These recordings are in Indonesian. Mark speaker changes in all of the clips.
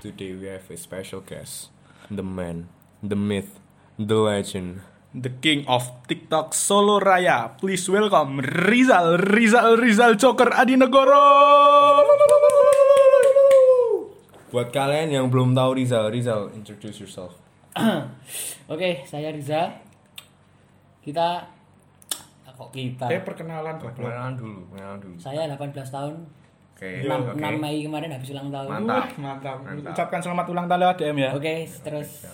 Speaker 1: have a special guest, the man, the myth, the legend.
Speaker 2: The King of TikTok Solo Raya. Please welcome Rizal, Rizal, Rizal Joker Adinegoro.
Speaker 1: Buat kalian yang belum tahu Rizal, Rizal introduce yourself.
Speaker 3: Oke, saya Riza. Kita kok kita?
Speaker 2: Kayak perkenalan goblok.
Speaker 1: Perkenalan dulu, perkenalan dulu.
Speaker 3: Saya 18 tahun.
Speaker 1: Oke.
Speaker 3: 6,
Speaker 1: oke.
Speaker 3: 6 Mei kemarin habis ulang tahun.
Speaker 1: Mantap.
Speaker 2: Wah, mantap. Ucapkan selamat ulang tahun lewat DM ya.
Speaker 3: Oke, terus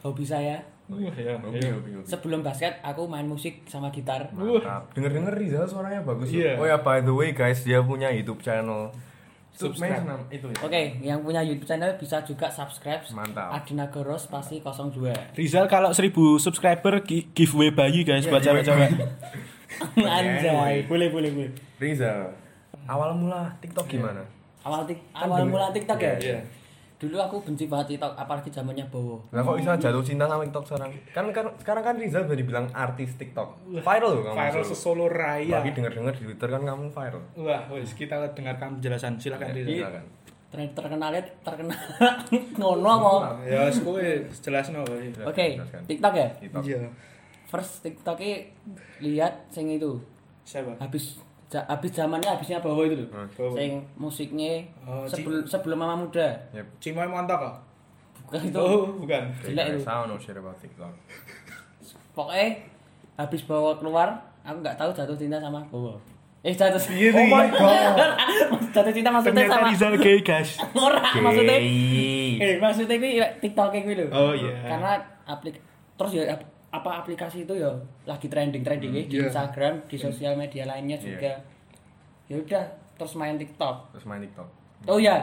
Speaker 3: hobi saya
Speaker 2: Wah, ya.
Speaker 1: Oke, oke, oke.
Speaker 3: sebelum basket aku main musik sama gitar.
Speaker 1: Mantap. Denger-denger Rizal suaranya bagus. loh.
Speaker 2: Iya.
Speaker 1: Oh ya by the way guys, dia punya YouTube channel.
Speaker 2: Subscribe.
Speaker 1: Subscribe itu ya.
Speaker 3: Oke, yang punya YouTube channel bisa juga subscribe.
Speaker 1: Mantap.
Speaker 3: Adinagoro spasi 02.
Speaker 2: Rizal kalau 1000 subscriber gi- giveaway bayi guys buat cewek-cewek.
Speaker 3: Anjay, boleh boleh boleh.
Speaker 1: Rizal, awal mula TikTok gimana?
Speaker 3: Awal tik awal mula TikTok ya.
Speaker 2: Iya.
Speaker 3: Dulu aku benci banget TikTok, apalagi zamannya Bowo.
Speaker 1: Lah kok bisa jatuh cinta sama TikTok sekarang? Kan, kan sekarang kan Rizal bisa dibilang artis TikTok. Viral loh kamu.
Speaker 2: Viral Iya.
Speaker 1: Zul.
Speaker 2: sesolo raya.
Speaker 1: Lagi denger-denger di Twitter kan kamu viral. Iya.
Speaker 2: Wah, wis kita dengarkan penjelasan. Silakan Rizal.
Speaker 1: Silakan.
Speaker 3: Ter- Terkenalnya terkenal ngono apa?
Speaker 2: Ya, wis kowe jelasno kowe.
Speaker 1: Silakan,
Speaker 3: Oke,
Speaker 1: jelaskan.
Speaker 3: TikTok ya.
Speaker 1: TikTok.
Speaker 2: Iya.
Speaker 3: First TikToknya lihat sing itu
Speaker 2: Siapa?
Speaker 3: habis ja- habis zamannya habisnya Bowo itu loh.
Speaker 2: Bowo.
Speaker 3: Sing musiknya
Speaker 2: Oh, Ci-
Speaker 3: sebelum sebelum Mama Muda.
Speaker 1: Yep.
Speaker 2: Cimoy Montok kok?
Speaker 3: Bukan itu.
Speaker 2: Oh, bukan.
Speaker 3: Jelek
Speaker 1: Guys, I
Speaker 3: itu.
Speaker 1: don't know shit about TikTok.
Speaker 3: Pokoknya habis Bowo keluar, aku nggak tahu jatuh cinta sama Bowo. Eh jatuh
Speaker 2: Iya,
Speaker 3: cinta.
Speaker 2: my god.
Speaker 3: jatuh cinta maksudnya
Speaker 2: Ternyata
Speaker 3: sama
Speaker 2: Rizal gay, guys.
Speaker 3: ora maksudnya.
Speaker 1: Gay.
Speaker 3: Eh maksudnya kuwi TikTok kuwi lho.
Speaker 2: Oh iya.
Speaker 3: Karena aplik terus ya ap- apa aplikasi itu ya lagi trending trending di
Speaker 2: iya.
Speaker 3: Instagram, di sosial media lainnya
Speaker 1: Iya.
Speaker 3: juga. Ya udah terus main TikTok.
Speaker 1: Terus main TikTok.
Speaker 3: Oh ya.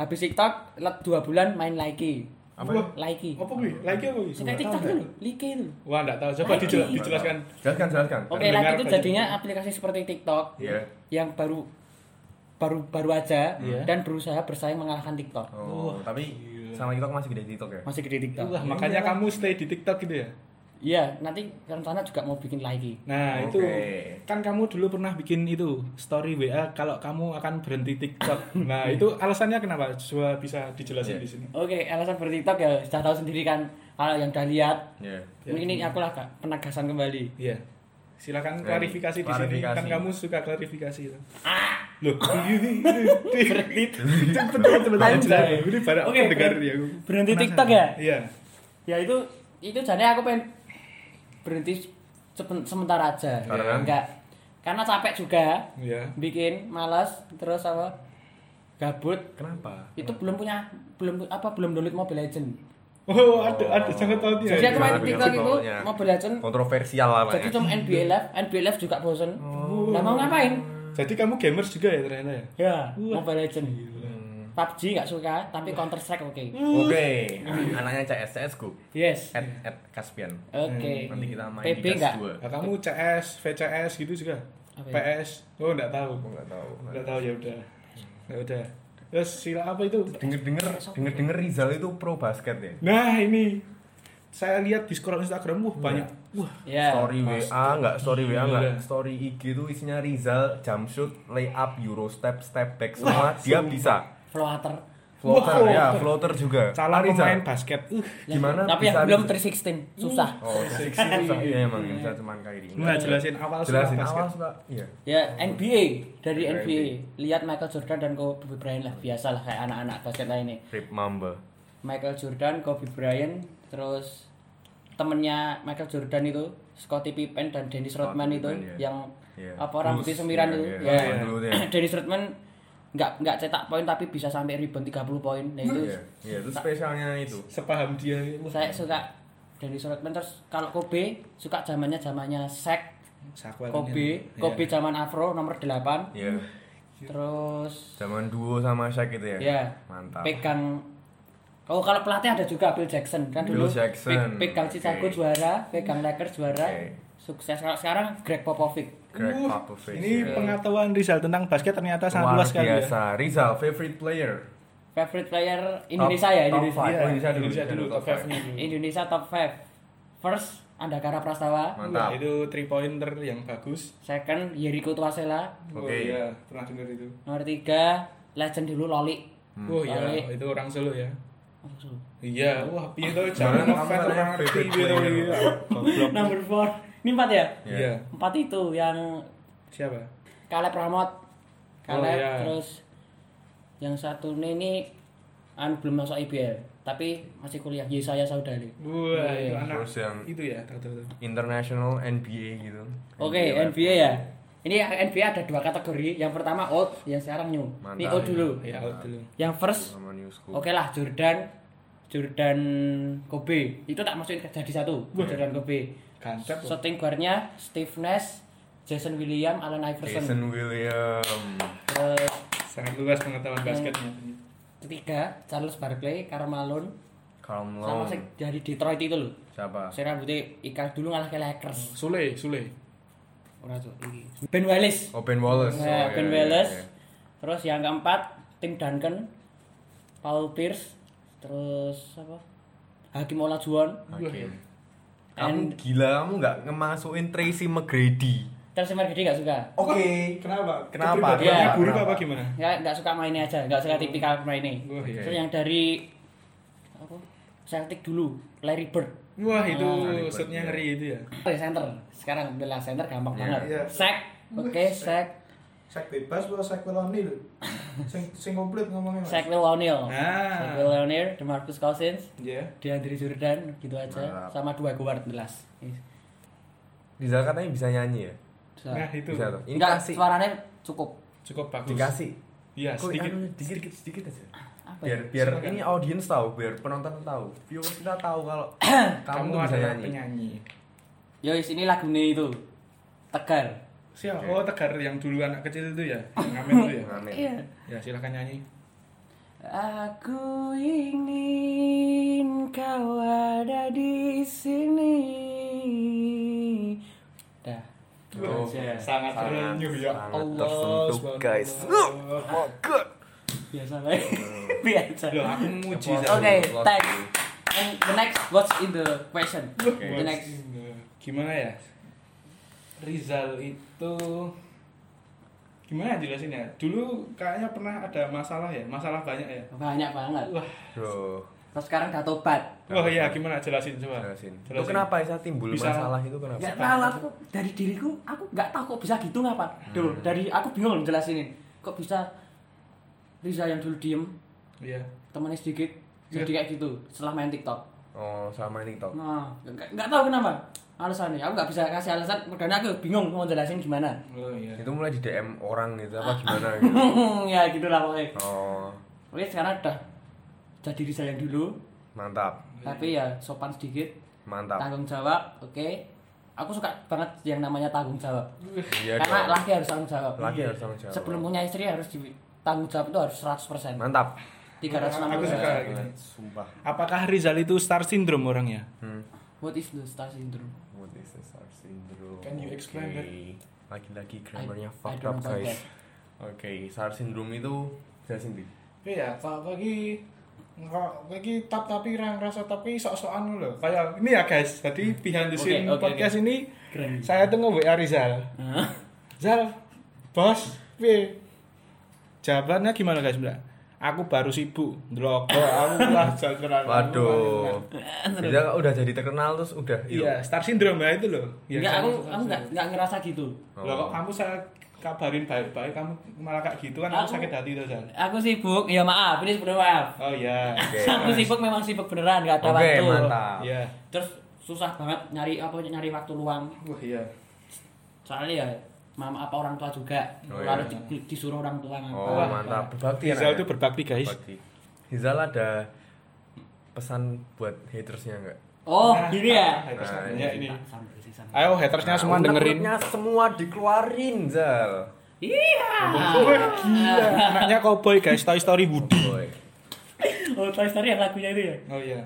Speaker 3: Habis TikTok, let dua bulan main Likey.
Speaker 1: Apa?
Speaker 2: Wah.
Speaker 3: Likey.
Speaker 2: Apa kuwi? Lagi apa kuwi?
Speaker 3: Sing TikTok itu, Likey itu.
Speaker 2: Wah, enggak tahu. Coba
Speaker 3: Lagi.
Speaker 2: dijel- dijelaskan.
Speaker 1: Jelaskan, jelaskan.
Speaker 3: Oke,
Speaker 2: Pendengar
Speaker 3: Likey itu
Speaker 2: banyak.
Speaker 3: jadinya aplikasi seperti TikTok
Speaker 1: Iya.
Speaker 3: yang baru baru baru aja
Speaker 2: Iya.
Speaker 3: dan berusaha bersaing mengalahkan TikTok.
Speaker 1: Oh, tapi sama TikTok masih gede TikTok ya?
Speaker 3: Masih gede TikTok.
Speaker 2: Wah, makanya kamu stay di TikTok gitu ya.
Speaker 3: Iya, nanti rencana juga mau bikin Likey.
Speaker 2: Nah, itu
Speaker 1: Oke.
Speaker 2: kan kamu dulu pernah bikin itu story WA kalau kamu akan berhenti TikTok. Nah, itu alasannya kenapa? Coba bisa dijelasin
Speaker 1: Iya.
Speaker 2: di sini.
Speaker 3: Oke, alasan ber TikTok ya sudah tahu sendiri kan kalau yang udah lihat.
Speaker 1: Iya.
Speaker 2: Ya,
Speaker 3: Ini ini aku lah Kak, penegasan kembali.
Speaker 2: Iya. Silakan
Speaker 1: Oke.
Speaker 2: klarifikasi di sini. Kan
Speaker 1: Klarifikasi. Ah!
Speaker 2: kamu suka klarifikasi. Loh, berhenti. Betul betul
Speaker 3: Anjay.
Speaker 2: Ini para
Speaker 3: Oke,
Speaker 2: pendengar
Speaker 3: berhenti.
Speaker 2: ya. aku.
Speaker 3: Berhenti
Speaker 2: Penasaran.
Speaker 3: TikTok ya?
Speaker 2: Iya.
Speaker 3: Ya itu itu jadi aku pengen berhenti seben- sementara aja. Ya,
Speaker 1: Karena?
Speaker 3: Enggak. Karena capek juga
Speaker 2: Iya.
Speaker 3: bikin malas terus apa gabut
Speaker 1: Kenapa?
Speaker 3: itu belum punya belum apa belum download Mobile Legend.
Speaker 2: Oh, ada ada sangat tahu dia. ya.
Speaker 3: Jadi aku main
Speaker 1: Jangan
Speaker 3: TikTok
Speaker 1: bilang
Speaker 3: itu
Speaker 1: pokoknya.
Speaker 3: Mobile Legend
Speaker 1: Kontroversial lah ya.
Speaker 3: jadi
Speaker 1: banyak.
Speaker 3: cuma NBA Live, NBA Live juga bosen.
Speaker 2: Oh.
Speaker 3: Lah mau ngapain?
Speaker 2: Jadi kamu gamers juga ya ternyata ya?
Speaker 3: Ya, Mobile Legend.
Speaker 1: Hmm.
Speaker 3: PUBG nggak suka, tapi Counter Strike oke.
Speaker 1: Oke. Anaknya CS CS Go.
Speaker 3: Yes.
Speaker 1: At at Caspian.
Speaker 3: Oke.
Speaker 1: Hmm, Nanti kita main
Speaker 3: PB
Speaker 1: di
Speaker 3: nggak?
Speaker 1: gas 2.
Speaker 2: Nah, kamu CS, VCS gitu juga?
Speaker 3: Apa ya?
Speaker 2: PS? Oh, enggak tahu.
Speaker 1: Aku nggak tahu.
Speaker 2: Enggak tahu ya udah. Ya udah. Terus sila apa itu?
Speaker 1: Denger-denger, denger-denger Rizal itu pro basket ya.
Speaker 2: Nah, ini saya lihat di scroll Instagram,
Speaker 1: Iya.
Speaker 2: wah banyak. Wah,
Speaker 3: Ya.
Speaker 1: story WA nggak story WA nggak
Speaker 2: Gila.
Speaker 1: Iya. story IG itu isinya Rizal jump shoot lay up euro step step back semua dia bisa
Speaker 3: Floater.
Speaker 1: floater
Speaker 2: Wah,
Speaker 1: ya floater juga Ah,
Speaker 2: calon
Speaker 1: Rizal,
Speaker 2: pemain basket. Uh.
Speaker 1: gimana
Speaker 3: Ya, tapi
Speaker 1: bisa
Speaker 3: yang belum
Speaker 1: Rizal?
Speaker 3: 316 susah.
Speaker 1: oh seksi susah ya emang yang bisa cuman kayak gini
Speaker 2: Nah, Iya, jelasin awal sila
Speaker 1: jelasin
Speaker 2: basket.
Speaker 1: awal suka iya
Speaker 3: Ya NBA dari
Speaker 1: Dari
Speaker 3: NBA. Lihat Michael Jordan dan Kobe Bryant lah biasa lah kayak anak-anak basket lainnya.
Speaker 1: Rip Mamba
Speaker 3: Michael Jordan, Kobe Bryant, terus temennya Michael Jordan itu Scottie Pippen dan Dennis
Speaker 1: Scottie
Speaker 3: Rodman itu
Speaker 1: Pippen, ya.
Speaker 3: yang
Speaker 1: Iya.
Speaker 3: apa rambutnya
Speaker 1: Blues,
Speaker 3: semiran
Speaker 1: iya,
Speaker 3: itu.
Speaker 1: iya.
Speaker 3: Ya.
Speaker 1: Rambut dulu tuh ya.
Speaker 3: Dennis Rodman nggak nggak cetak poin tapi bisa sampai rebound 30 poin. Nah itu
Speaker 1: iya iya itu spesialnya itu
Speaker 2: Sepaham dia. Wah,
Speaker 3: saya suka Dennis Rodman terus kalau Kobe suka zamannya zamannya Shaq,
Speaker 2: Sakwar
Speaker 3: Kobe,
Speaker 2: ini.
Speaker 3: Kobe zaman afro nomor 8.
Speaker 1: iya
Speaker 3: Terus
Speaker 1: zaman duo sama Shaq gitu ya
Speaker 2: Iya.
Speaker 3: ya
Speaker 1: mantap
Speaker 3: pegang Oh kalau pelatih ada juga Bill Jackson kan
Speaker 1: Bill
Speaker 3: dulu
Speaker 1: Jackson,
Speaker 3: pe- pegang
Speaker 1: oke.
Speaker 3: Chicago juara, pegang Lakers juara,
Speaker 1: Oke.
Speaker 3: sukses. Kalau sekarang Greg Popovich.
Speaker 1: Greg
Speaker 2: Uh,
Speaker 1: Popovich ya.
Speaker 2: Ini pengetahuan Rizal tentang basket ternyata sangat
Speaker 1: luar
Speaker 2: luas sekali ya.
Speaker 1: biasa Rizal favorite player
Speaker 3: Favorite player Indonesia
Speaker 1: Top-
Speaker 3: ya
Speaker 1: top
Speaker 3: Indonesia.
Speaker 1: five.
Speaker 2: Iya,
Speaker 1: Oh, Indonesia dulu,
Speaker 2: Indonesia dulu, top
Speaker 1: five.
Speaker 2: five-nya dulu.
Speaker 3: Indonesia top 5. First Andakara Prastawa,
Speaker 1: mantap
Speaker 2: Nah, Itu three pointer yang bagus.
Speaker 3: second Yeriko Tuasela,
Speaker 1: Oke.
Speaker 2: Oh iya, pernah dengar itu.
Speaker 3: nomor 3 legend dulu Loli.
Speaker 2: Oh iya,
Speaker 3: Loli.
Speaker 2: itu orang Solo ya. Iya, wah piye to
Speaker 1: Barang
Speaker 2: jangan ngefans
Speaker 1: kamu
Speaker 2: orang
Speaker 1: kan
Speaker 2: ngerti
Speaker 1: favorite
Speaker 2: piye to
Speaker 1: player.
Speaker 2: iya.
Speaker 1: Goblok.
Speaker 3: Number 4. Ini 4 ya?
Speaker 2: Iya.
Speaker 3: Empat itu yang
Speaker 2: Siapa?
Speaker 3: Kaleb Ramot. Kaleb
Speaker 2: Oh, iya.
Speaker 3: terus yang satu ini, ini an belum masuk IBL tapi masih kuliah Yesaya Saudari.
Speaker 2: Wah, itu anak.
Speaker 1: Terus yang-
Speaker 2: itu ya, tahu tahu. tahu.
Speaker 1: International NBA gitu.
Speaker 3: Oke, NBA ya. Ini NBA ada dua kategori. Yang pertama old, yang sekarang new. Ini
Speaker 1: Mantap.
Speaker 3: old dulu.
Speaker 2: Ya, out dulu.
Speaker 3: Yang first,
Speaker 1: Sama new school.
Speaker 3: oke lah Jordan, Jordan Kobe. Itu tak masukin ke- jadi satu. Jordan Kobe.
Speaker 2: Kancep. loh.
Speaker 3: Shooting guardnya Steve Nash, Jason William, Allen Iverson.
Speaker 1: Jason William.
Speaker 3: Terus
Speaker 2: Sangat luas pengetahuan basketnya.
Speaker 3: ketiga Charles Barkley, Karl Malone,
Speaker 1: Karl
Speaker 3: sama
Speaker 1: Malone.
Speaker 3: sing dari Detroit itu loh.
Speaker 1: Siapa?
Speaker 3: Saya rambutnya ikan dulu ngalah ke Lakers.
Speaker 2: Sule, Sule.
Speaker 3: Ora tuh iki. Ben Wallace.
Speaker 1: Oh, Ben Wallace. Oh, iya,
Speaker 3: Nah, ben
Speaker 1: iya,
Speaker 3: Wallace.
Speaker 1: iya.
Speaker 3: Terus yang keempat Tim Duncan, Paul Pierce, terus apa? Hakim Olajuwon,
Speaker 1: Hakim. Kamu
Speaker 3: and
Speaker 1: gila, kamu nggak ngemasukin Tracy McGrady.
Speaker 3: Terus Margedi nggak suka.
Speaker 1: Oke.
Speaker 2: Kenapa?
Speaker 1: Kenapa?
Speaker 2: Kepribadiannya
Speaker 3: Iya.
Speaker 2: buruk apa
Speaker 1: Kenapa?
Speaker 2: gimana?
Speaker 3: Nggak nggak suka mainnya aja, nggak suka tipikal mainnya.
Speaker 2: Wah, iya.
Speaker 3: Terus yang dari apa? Celtic dulu, Larry Bird.
Speaker 2: Wah, itu
Speaker 1: Ribet,
Speaker 2: setnya
Speaker 1: iya.
Speaker 2: ngeri itu ya.
Speaker 3: Oh, ya, center. Sekarang bilang center gampang
Speaker 1: Iya.
Speaker 3: banget.
Speaker 4: Iya.
Speaker 3: Sack. Oke, sack.
Speaker 4: Sek bebas apa sek O'Neal? Sing sing komplit ngomongnya. Mas.
Speaker 3: Sack Will O'Neal.
Speaker 2: Nah.
Speaker 3: Sack Will O'Neal, DeMarcus Cousins.
Speaker 2: Iya.
Speaker 3: DeAndre Jordan gitu aja
Speaker 1: Mantap.
Speaker 3: sama dua guard jelas.
Speaker 1: Rizal katanya bisa nyanyi ya?
Speaker 3: Iya.
Speaker 2: Nah, itu.
Speaker 1: Bisa tuh. Ini
Speaker 3: Enggak
Speaker 1: kasih.
Speaker 3: suaranya cukup.
Speaker 2: Cukup bagus.
Speaker 1: Dikasih.
Speaker 2: Iya,
Speaker 1: Kok, kan
Speaker 2: sedikit.
Speaker 1: aduh, dikit, sedikit aja.
Speaker 3: Apa ya?
Speaker 1: Biar biar
Speaker 2: Silakan.
Speaker 1: ini audiens tahu, biar penonton tahu. Viewers kita tahu kalau kamu,
Speaker 2: Kamu
Speaker 1: tuh bisa
Speaker 2: adalah
Speaker 1: nyanyi.
Speaker 2: penyanyi.
Speaker 3: Yo Ya, wis, ini lagunya itu Tegar.
Speaker 2: Siapa? Oh, Tegar yang dulu anak kecil itu ya. Yang Ngamen itu ya.
Speaker 1: Iya, Ngamen.
Speaker 3: Iya.
Speaker 2: Ya, silakan nyanyi.
Speaker 3: Aku ingin kau ada di sini. Dah.
Speaker 1: Tuh,
Speaker 2: Sangat renyuh ya.
Speaker 1: sangat
Speaker 3: Allah,
Speaker 1: tersentuh
Speaker 2: subhanallah.
Speaker 1: guys. Oh my god.
Speaker 3: Biasa baik. Biasa.
Speaker 2: Loh, aku muji
Speaker 1: Applause.
Speaker 2: Zara.
Speaker 3: Oke,
Speaker 1: Applause.
Speaker 3: thanks. And the next what's in the question? The next
Speaker 2: Gimana ya? Rizal itu gimana jelasin ya? Dulu kayaknya pernah ada masalah ya, masalah banyak ya.
Speaker 3: banyak banget.
Speaker 2: Wah,
Speaker 1: Bro,
Speaker 3: Terus sekarang udah tobat.
Speaker 2: wah ya gimana jelasin coba?
Speaker 1: jelasin. Itu
Speaker 2: Jelasin.
Speaker 1: kenapa bisa timbul
Speaker 2: Bisa.
Speaker 1: masalah itu kenapa?
Speaker 3: Gak tahu aku dari diriku aku gak tahu kok bisa gitu ngapa. Dulu
Speaker 1: Hmm.
Speaker 3: dari aku bingung jelasin Kok bisa Riza yang dulu diem
Speaker 2: Iya.
Speaker 3: temennya sedikit jadi kayak gitu setelah main TikTok.
Speaker 1: Iya. Oh, sama ini TikTok.
Speaker 3: Nah, gak, gak tahu kenapa alasannya. Aku gak bisa kasih alasan dan aku bingung mau jelasin gimana.
Speaker 2: Oh iya.
Speaker 1: Itu mulai di DM orang gitu apa gimana gitu.
Speaker 3: ya gitulah pokoknya.
Speaker 1: Oh,
Speaker 3: Oke sekarang udah jadi Riza yang dulu
Speaker 1: Iya, mantap.
Speaker 3: tapi
Speaker 1: iya.
Speaker 3: ya sopan sedikit
Speaker 1: Mantap.
Speaker 3: tanggung jawab oke aku suka banget yang namanya tanggung jawab
Speaker 1: Iya,
Speaker 3: karena
Speaker 1: dong.
Speaker 3: laki harus tanggung jawab
Speaker 1: Laki harus tanggung jawab.
Speaker 3: sebelum punya istri harus di- tanggung jawab itu harus 100%
Speaker 1: Mantap. Eh,
Speaker 3: 360
Speaker 2: Aku suka gitu.
Speaker 1: Sumpah.
Speaker 2: Apakah Rizal itu star syndrome orangnya?
Speaker 1: Hmm.
Speaker 3: what is the star syndrome
Speaker 1: What is the star syndrome?
Speaker 2: Can you explain that?
Speaker 1: Okay. Lagi-lagi grammarnya
Speaker 3: I- I
Speaker 1: fucked
Speaker 3: don't
Speaker 1: up
Speaker 3: know about
Speaker 1: guys. Oke, SAR syndrome itu jelasin di.
Speaker 2: Iya, tak lagi nggak lagi tap tapi rang rasa tapi sok-sokan loh. Kayak ini ya guys, tadi behind the
Speaker 3: Hmm. Oke,
Speaker 2: scene
Speaker 3: oke,
Speaker 2: podcast ini
Speaker 3: Keren.
Speaker 2: saya tuh nge-WA Rizal. Zal, bos, piye? Jawabannya gimana guys, Mbak? Aku baru sibuk ndelok aku lah jajaran.
Speaker 1: Waduh. Dia udah jadi terkenal terus udah hilang.
Speaker 2: Iya, star syndrome ya itu loh. Iya,
Speaker 3: enggak aku aku enggak
Speaker 2: sama star syndrome.
Speaker 3: enggak ngerasa gitu
Speaker 1: Oh,
Speaker 2: Loh kok kamu saya kabarin baik-baik kamu malah kayak gitu kan aku,
Speaker 3: Aku-
Speaker 2: sakit hati tuh, Zal.
Speaker 3: aku sibuk ya maaf ini sebenarnya maaf
Speaker 2: Oh iya.
Speaker 1: Oke.
Speaker 3: aku sibuk memang sibuk beneran gak ada
Speaker 1: Ya, Oke,
Speaker 3: waktu
Speaker 1: mantap.
Speaker 2: Iya.
Speaker 3: terus susah banget nyari apa nyari waktu luang
Speaker 2: Wah, iya.
Speaker 3: soalnya ya mama apa orang tua juga
Speaker 1: Oh,
Speaker 3: lalu
Speaker 1: iya.
Speaker 3: di- disuruh orang tua ngapa
Speaker 1: Oh, mantap. Berbakti
Speaker 2: Rizal
Speaker 1: anaknya.
Speaker 2: tuh berbakti, guys.
Speaker 1: Berbakti. Rizal ada pesan buat hatersnya enggak?
Speaker 3: oh
Speaker 2: Nah,
Speaker 3: gini ya
Speaker 2: haters
Speaker 1: Nah,
Speaker 2: namanya ini.
Speaker 3: Tak, sambil sih, sambil.
Speaker 2: Ayo hatersnya semua dengerin.
Speaker 1: Unek-uneknya semua dikeluarin, Zal.
Speaker 3: iya
Speaker 2: Wah, gila. Anaknya cowboy guys, Toy Story Woody.
Speaker 1: Boy.
Speaker 3: oh Toy Story yang lagunya itu ya
Speaker 2: Oh iya.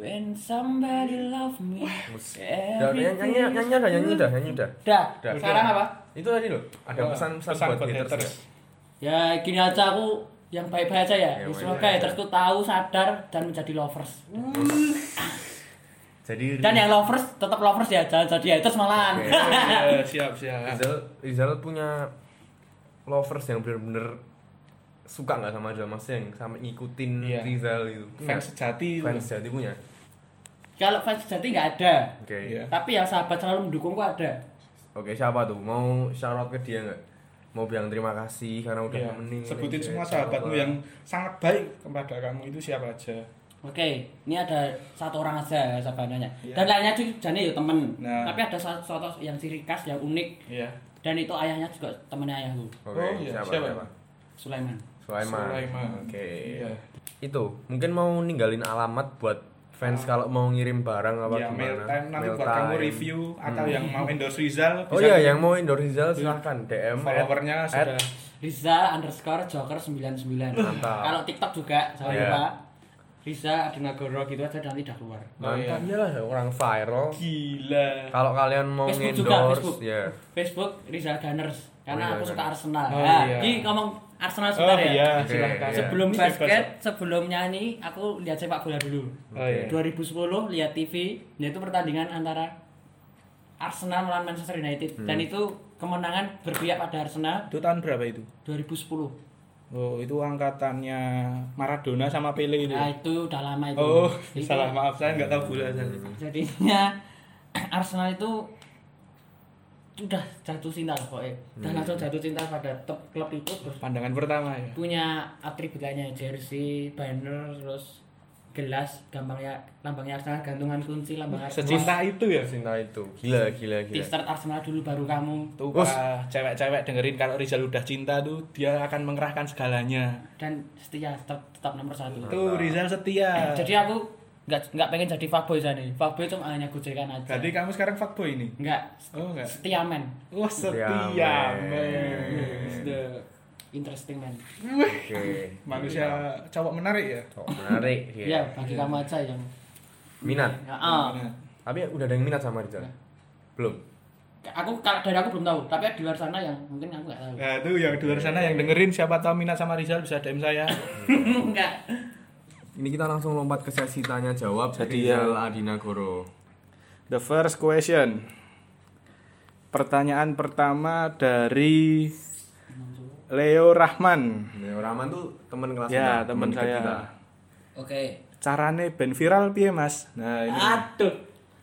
Speaker 3: when somebody love me
Speaker 1: Udah, nyanyi, nyanyi, nyanyi, udah, nyanyi, udah, nyanyi, udah.
Speaker 3: udah
Speaker 1: Udah.
Speaker 3: sekarang apa
Speaker 1: Itu tadi loh, ada
Speaker 2: Wah,
Speaker 1: pesan-pesan
Speaker 2: pesan
Speaker 1: buat,
Speaker 2: buat
Speaker 1: haters.
Speaker 2: haters.
Speaker 1: nggak?
Speaker 3: ya gini aja aku yang baik-baik aja ya,
Speaker 1: Ya,
Speaker 3: ya
Speaker 1: baik-baik
Speaker 3: semoga
Speaker 1: aja.
Speaker 3: haters tuh tahu sadar dan menjadi lovers
Speaker 1: Hmm. Jadi
Speaker 3: dan yang lovers tetap lovers ya jangan jadi haters malahan
Speaker 1: Oke.
Speaker 2: Oh Iya, siap, siap.
Speaker 1: Rizal, Rizal punya lovers yang bener-bener suka nggak sama Dalmasnya yang sampai ngikutin
Speaker 2: Iya.
Speaker 1: Rizal gitu
Speaker 2: fans sejati
Speaker 1: fans jadi punya
Speaker 3: Kalau fans sejati nggak ada,
Speaker 1: oke
Speaker 2: Iya.
Speaker 3: tapi yang sahabat selalu mendukungku ada.
Speaker 1: oke siapa tuh mau shout out ke dia nggak mau bilang terima kasih karena udah
Speaker 2: Iya.
Speaker 1: nemenin
Speaker 2: sebutin
Speaker 1: Indonesia,
Speaker 2: semua
Speaker 1: siapa.
Speaker 2: sahabatmu yang sangat baik kepada kamu itu siapa aja
Speaker 3: Oke, ini ada satu orang aja ya, sahabatnya.
Speaker 2: Iya.
Speaker 3: Dan lainnya juga jane ya temen.
Speaker 2: Nah.
Speaker 3: Tapi ada satu, satu yang ciri khas yang unik
Speaker 2: iya
Speaker 3: dan itu ayahnya juga temennya ayahku,
Speaker 1: oke
Speaker 2: Oh, iya.
Speaker 1: siapa
Speaker 2: Siapa?
Speaker 1: siapa
Speaker 3: Sulaiman.
Speaker 1: Sulaiman
Speaker 2: Sulaiman.
Speaker 1: oke
Speaker 2: iya
Speaker 1: itu mungkin mau ninggalin alamat buat fans kalau mau ngirim barang apa
Speaker 2: ya,
Speaker 1: gimana
Speaker 2: Ah. mail time nanti
Speaker 1: Mail
Speaker 2: buat kamu
Speaker 1: time. Hmm.
Speaker 2: review atau yang mau endorse Rizal
Speaker 1: oh
Speaker 2: bisa Iya.
Speaker 1: iya
Speaker 2: di-
Speaker 1: yang mau endorse Rizal silahkan DM at-
Speaker 2: followernya
Speaker 1: at-
Speaker 2: sudah
Speaker 3: Riza underscore Joker 99
Speaker 2: Nah.
Speaker 1: Mantap.
Speaker 3: Kalau TikTok juga, jangan
Speaker 1: Iya.
Speaker 3: lupa Riza Adinagoro gitu aja nanti udah keluar
Speaker 2: Oh, iya.
Speaker 1: mantap iyalah orang viral
Speaker 2: gila
Speaker 1: kalau kalian mau
Speaker 3: Facebook juga, Facebook.
Speaker 1: endorse ya
Speaker 3: Facebook Riza Gunners
Speaker 1: Oh,
Speaker 3: Karena
Speaker 1: iya,
Speaker 3: aku suka
Speaker 1: Gunners.
Speaker 3: Arsenal
Speaker 2: Oh,
Speaker 3: Nah,
Speaker 2: iya.
Speaker 3: ini ngomong Arsenal
Speaker 2: oh
Speaker 3: sebentar ya
Speaker 2: iya
Speaker 1: Oke,
Speaker 2: silakan
Speaker 1: iya.
Speaker 3: Sebelum
Speaker 2: Ini
Speaker 3: basket, sebelum nyanyi, aku lihat sepak bola dulu
Speaker 2: oh iya
Speaker 3: 2010 lihat TV, yaitu pertandingan antara Arsenal melawan Manchester United
Speaker 2: Hmm.
Speaker 3: Dan itu kemenangan berpihak pada Arsenal
Speaker 2: itu tahun berapa itu
Speaker 3: 2010
Speaker 2: oh itu angkatannya Maradona sama Pele itu
Speaker 3: Nah itu udah lama itu
Speaker 2: oh
Speaker 3: Itu
Speaker 2: salah maaf saya nggak tahu bola saya
Speaker 3: jadinya Arsenal itu udah jatuh cinta loh pokoknya dan langsung jatuh cinta pada top klub itu terus
Speaker 2: pandangan pertama ya
Speaker 3: punya atribut lainnya jersey banner terus gelas gampangnya lambangnya Arsenal gantungan kunci lambang Arsenal
Speaker 2: secinta itu ya
Speaker 1: cinta itu gila gila gila
Speaker 3: t-shirt Arsenal dulu baru kamu
Speaker 2: tuh
Speaker 1: Us.
Speaker 2: Pak, cewek-cewek dengerin kalau Rizal udah cinta tuh dia akan mengerahkan segalanya
Speaker 3: dan setia tetap, tetap nomor satu
Speaker 2: tuh Rizal setia
Speaker 3: jadi aku nggak nggak pengen jadi fuckboy jadi fuckboy cuma hanya gojekan aja
Speaker 2: berarti kamu sekarang fuckboy ini
Speaker 3: nggak
Speaker 2: oh enggak
Speaker 3: setia men
Speaker 2: wah setia
Speaker 1: Setia,
Speaker 2: Iya, men
Speaker 3: It's the interesting man
Speaker 1: oke
Speaker 2: manusia cowok menarik ya
Speaker 1: Cowok menarik
Speaker 3: ya
Speaker 1: ya
Speaker 3: bagi kamu aja yang
Speaker 1: minat
Speaker 3: Ya, ah.
Speaker 2: Nah,
Speaker 1: tapi udah ada yang minat sama Rizal belum
Speaker 3: aku kalau dari aku belum tahu tapi di luar sana yang mungkin aku nggak tahu
Speaker 2: Nah, tuh yang di luar sana yang dengerin siapa tahu minat sama Rizal bisa DM saya.
Speaker 3: enggak
Speaker 1: ini kita langsung lompat ke sesi tanya jawab
Speaker 2: Jadi,
Speaker 1: Rizal Adinagoro
Speaker 2: The first question. Pertanyaan pertama dari Leo Rahman.
Speaker 1: Nah, Rahman tuh teman kelas
Speaker 2: Ya,
Speaker 1: kita,
Speaker 2: teman
Speaker 1: dekat kita.
Speaker 2: saya.
Speaker 3: oke
Speaker 2: Carane ben viral piye, Mas? Nah, ini
Speaker 3: aduh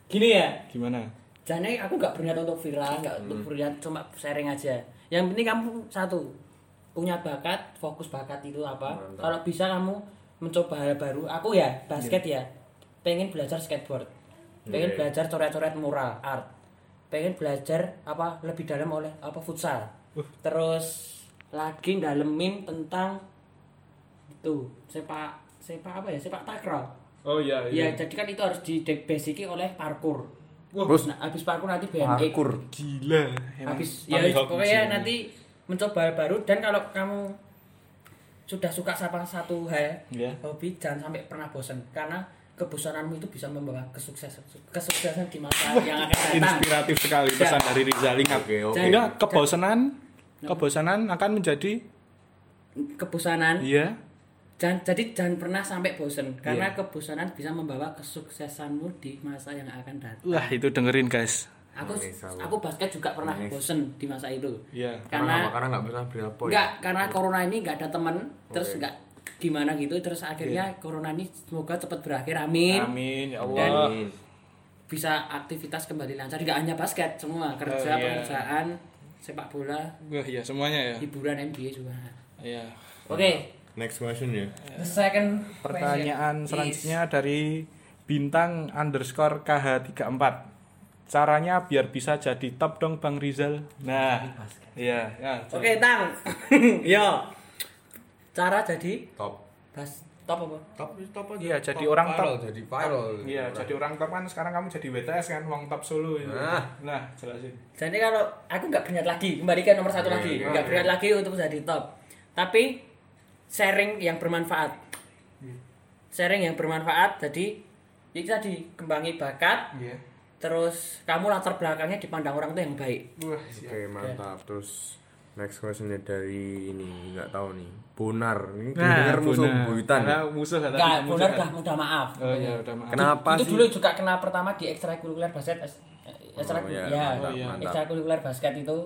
Speaker 3: gini ya
Speaker 2: gimana?
Speaker 3: jadi aku nggak berniat untuk viral nggak untuk berniat cuma sharing aja yang penting kamu satu punya bakat fokus bakat itu apa
Speaker 1: Mantap.
Speaker 3: kalau bisa kamu mencoba hal baru aku ya basket ya pengen belajar skateboard
Speaker 1: Iya.
Speaker 3: pengen belajar coret-coret mural art pengen belajar apa lebih dalam oleh apa futsal terus lagi dalemin tentang itu sepak sepak apa ya sepak takraw
Speaker 2: Oh iya,
Speaker 3: Ya, jadi kan itu harus di basiki oleh parkur.
Speaker 1: Terus?
Speaker 3: Nah, habis parkur nanti BMX.
Speaker 1: Parkur.
Speaker 2: Gila. Emang
Speaker 3: Habis ya
Speaker 2: Tommy Hawk
Speaker 3: pokoknya
Speaker 2: sih.
Speaker 3: nanti mencoba hal baru dan kalau kamu sudah suka sama satu hal,
Speaker 2: Iya.
Speaker 3: hobi jangan sampai pernah bosan karena kebosananmu itu bisa membawa kesuksesan kesuksesan di masa yang akan datang.
Speaker 2: inspiratif sekali pesan dari Rizal ingat.
Speaker 1: Oke, oke.
Speaker 2: Sehingga kebosanan kebosanan akan menjadi
Speaker 3: Kebosanan
Speaker 2: iya
Speaker 3: Jangan, jadi jangan pernah sampai bosan karena kebosanan bisa membawa kesuksesanmu di masa yang akan datang.
Speaker 2: Wah, itu dengerin guys.
Speaker 3: Aku
Speaker 1: Manis, aku.
Speaker 3: aku basket juga pernah bosen di masa itu.
Speaker 2: Iya.
Speaker 1: karena
Speaker 3: Karena
Speaker 1: karena nggak pernah berapa ya?
Speaker 3: Enggak, karena corona ini enggak ada temen terus enggak gimana gitu terus akhirnya corona ini semoga cepat berakhir amin.
Speaker 2: Iya. Amin ya
Speaker 3: Dan
Speaker 2: Allah.
Speaker 3: bisa aktivitas kembali lancar enggak hanya basket semua kerja
Speaker 2: iya.
Speaker 3: pekerjaan sepak bola
Speaker 2: Wah, iya semuanya ya.
Speaker 3: hiburan NBA juga
Speaker 2: Iya.
Speaker 3: oke
Speaker 1: next question ya
Speaker 3: the second
Speaker 2: Pertanyaan
Speaker 3: question
Speaker 2: selanjutnya dari bintang underscore KH34 Caranya biar bisa jadi top dong Bang Rizal Nah, iya ya,
Speaker 3: is- oke tang yo cara jadi
Speaker 1: top
Speaker 3: bas top apa
Speaker 1: top top aja
Speaker 2: Iya, jadi orang
Speaker 1: viral,
Speaker 2: top.
Speaker 1: jadi viral
Speaker 2: Iya, jadi orang top kan sekarang kamu jadi BTS kan, uang top solo itu
Speaker 1: Nah.
Speaker 2: Nah, jelasin
Speaker 3: jadi kalau aku nggak berniat lagi kembali ke nomor satu lagi nggak berniat lagi untuk jadi top tapi sharing yang bermanfaat sharing yang bermanfaat jadi ya itu tadi kembangi bakat
Speaker 2: Iya
Speaker 3: terus kamu latar belakangnya dipandang orang tuh yang baik
Speaker 2: Wah,
Speaker 1: oke
Speaker 2: siap
Speaker 1: mantap terus next questionnya dari ini nggak tahu nih Bonar ini bener
Speaker 2: Nah,
Speaker 1: musuh
Speaker 2: benar.
Speaker 1: buyutan
Speaker 2: Karena musuh katanya,
Speaker 3: nggak
Speaker 2: musuh
Speaker 3: benar
Speaker 2: kan.
Speaker 3: udah udah maaf
Speaker 2: Oh iya, udah maaf
Speaker 1: kenapa
Speaker 3: itu
Speaker 1: sih
Speaker 3: dulu juga kena pertama di ekstrakurikuler basket es- ekstrakurikuler
Speaker 1: iya,
Speaker 3: ya,
Speaker 1: mantap, mantap.
Speaker 3: ekstrakurikuler basket itu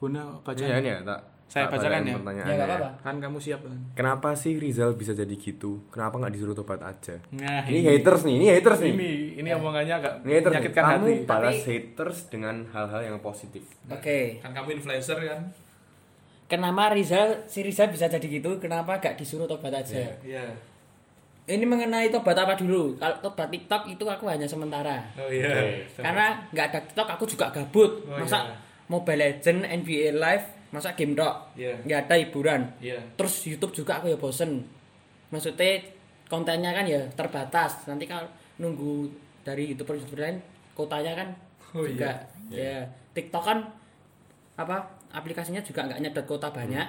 Speaker 2: Bunda, baca
Speaker 1: Iya, ini ya tak
Speaker 2: Saya
Speaker 1: Tak
Speaker 2: bacakan
Speaker 1: balain
Speaker 2: ya.
Speaker 1: pertanyaannya.
Speaker 3: Ya nggak apa-apa.
Speaker 2: Kan kamu siap kan?
Speaker 1: Kenapa sih Rizal bisa jadi gitu? Kenapa nggak disuruh tobat aja?
Speaker 2: Nah,
Speaker 1: ini, haters nih, ini haters nih.
Speaker 2: Ini ini omongannya agak
Speaker 1: Ini haters. nih.
Speaker 2: menyakitkan
Speaker 1: Kamu
Speaker 2: hati.
Speaker 1: balas haters dengan hal-hal yang positif.
Speaker 3: Oke.
Speaker 2: Kan kamu influencer kan?
Speaker 3: Kenapa Rizal si Rizal bisa jadi gitu? Kenapa gak disuruh tobat aja?
Speaker 2: Iya.
Speaker 3: Ini mengenai tobat apa dulu? Kalau tobat TikTok itu aku hanya sementara.
Speaker 2: Oh iya.
Speaker 3: Karena nggak ada TikTok aku juga gabut.
Speaker 2: Oh,
Speaker 3: masa
Speaker 2: iya.
Speaker 3: Mobile Legend, NBA Live, masa game tok.
Speaker 2: Iya.
Speaker 3: Nggak ada hiburan.
Speaker 2: Iya.
Speaker 3: Terus YouTube juga aku ya bosen. Maksudnya kontennya kan ya terbatas. Nanti kalau nunggu dari YouTuber YouTuber lain kotanya kan
Speaker 2: Oh,
Speaker 3: juga ya TikTok kan apa aplikasinya juga nggak nyedot kota banyak.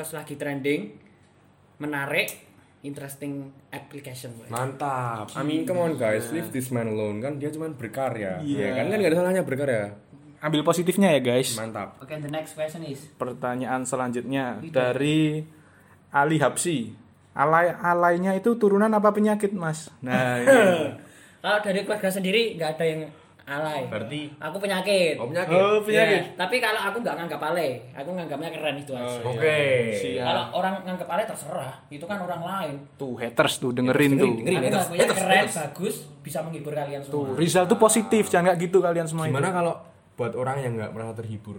Speaker 3: Terus lagi trending, menarik, interesting application. boy.
Speaker 1: Mantap. I mean, come on guys, leave this man alone. Kan dia cuma berkarya.
Speaker 2: Nah. Iya.
Speaker 1: Ya kan kan nggak ada salahnya berkarya.
Speaker 2: Ambil positifnya ya guys.
Speaker 1: Mantap.
Speaker 3: Oke, the next question is
Speaker 2: Pertanyaan selanjutnya dari Ali Habsi. Alay alaynya itu turunan apa penyakit, Mas? Nah, ini.
Speaker 3: Kalau dari keluarga sendiri nggak ada yang alay.
Speaker 1: Berarti-
Speaker 3: aku penyakit.
Speaker 1: Oh, penyakit.
Speaker 2: oh, penyakit.
Speaker 3: Iya, tapi kalau aku nggak nganggap alay, aku nganggapnya keren itu aja.
Speaker 1: Oke.
Speaker 2: Siap.
Speaker 3: Kalau orang nganggap alay terserah, itu kan orang lain.
Speaker 2: Tuh haters tuh dengerin tuh.
Speaker 3: Aku ngakunya keren, bagus, bisa menghibur kalian
Speaker 2: Tuh,
Speaker 3: semua.
Speaker 2: Rizal tuh positif, jangan nggak gitu kalian
Speaker 4: Oh,
Speaker 2: semua
Speaker 4: iya.
Speaker 2: itu.
Speaker 1: Gimana kalau buat orang yang nggak merasa terhibur?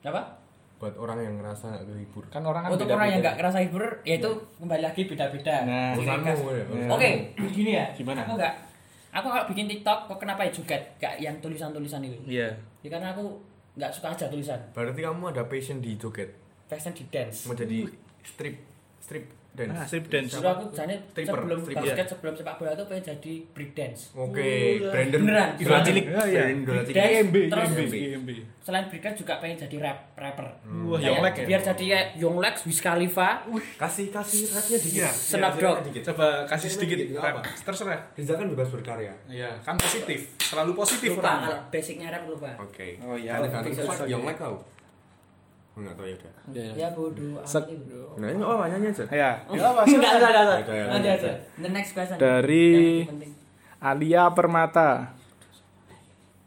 Speaker 3: Apa?
Speaker 1: Buat orang yang ngerasa nggak terhibur.
Speaker 2: Kan orang kan
Speaker 3: Untuk
Speaker 2: beda-beda.
Speaker 3: orang yang nggak ngerasa hibur, ya itu kembali lagi beda-beda.
Speaker 2: Nah,
Speaker 3: Ciri
Speaker 1: urusanmu,
Speaker 3: khas.
Speaker 1: ya.
Speaker 3: Oke, begini ya.
Speaker 2: Gimana?
Speaker 3: Aku nggak. Aku kalau bikin TikTok, kok kenapa ya joget? Gak yang tulisan-tulisan itu.
Speaker 2: Iya.
Speaker 3: Ya karena aku nggak suka aja tulisan.
Speaker 1: Berarti kamu ada passion di joget.
Speaker 3: Fashion di dance.
Speaker 1: Mau jadi strip strip dance.
Speaker 4: Ah,
Speaker 2: Nah, strip dance.
Speaker 3: Dulu aku jane
Speaker 1: Stripper,
Speaker 3: sebelum
Speaker 1: stripper.
Speaker 3: basket, sebelum sepak bola tuh pengen jadi break dance.
Speaker 1: Oke, Brandon
Speaker 3: Beneran,
Speaker 1: idola
Speaker 3: beneran.
Speaker 1: cilik.
Speaker 2: Iya, iya.
Speaker 1: Brandon idola cilik.
Speaker 3: Dance, iya.
Speaker 2: IMB,
Speaker 3: terus
Speaker 2: IMB, IMB.
Speaker 3: selain break dance juga pengen jadi rap rapper.
Speaker 2: Wah,
Speaker 3: Kayak
Speaker 2: Yonglek ya?
Speaker 3: Biar jadi kayak Yonglex, Wiz Khalifa,
Speaker 1: Kasih kasih rapnya dikit.
Speaker 3: Snapdog.
Speaker 1: Rapnya dikit.
Speaker 2: Coba kasih sedikit
Speaker 1: nggak
Speaker 2: rap.
Speaker 1: apa.
Speaker 2: Terserah.
Speaker 1: Rizal kan bebas berkarya.
Speaker 2: Iya, kan positif. Selalu positif
Speaker 3: lupa
Speaker 2: orangnya.
Speaker 3: kalau basicnya rap lupa.
Speaker 1: Oke.
Speaker 2: Oh, iya.
Speaker 1: Kan kan
Speaker 3: Bisa,
Speaker 1: Fuck, yang like kau. Enggak tahu ya udah.
Speaker 3: Ya bodoh.
Speaker 2: Set.
Speaker 1: Nah, ini apa nyanyi aja.
Speaker 2: Ya.
Speaker 3: Enggak, enggak, enggak, enggak.
Speaker 1: Oke, oke.
Speaker 3: Nanti aja. The next question.
Speaker 2: Dari-
Speaker 3: Yang penting.
Speaker 2: Alia Permata.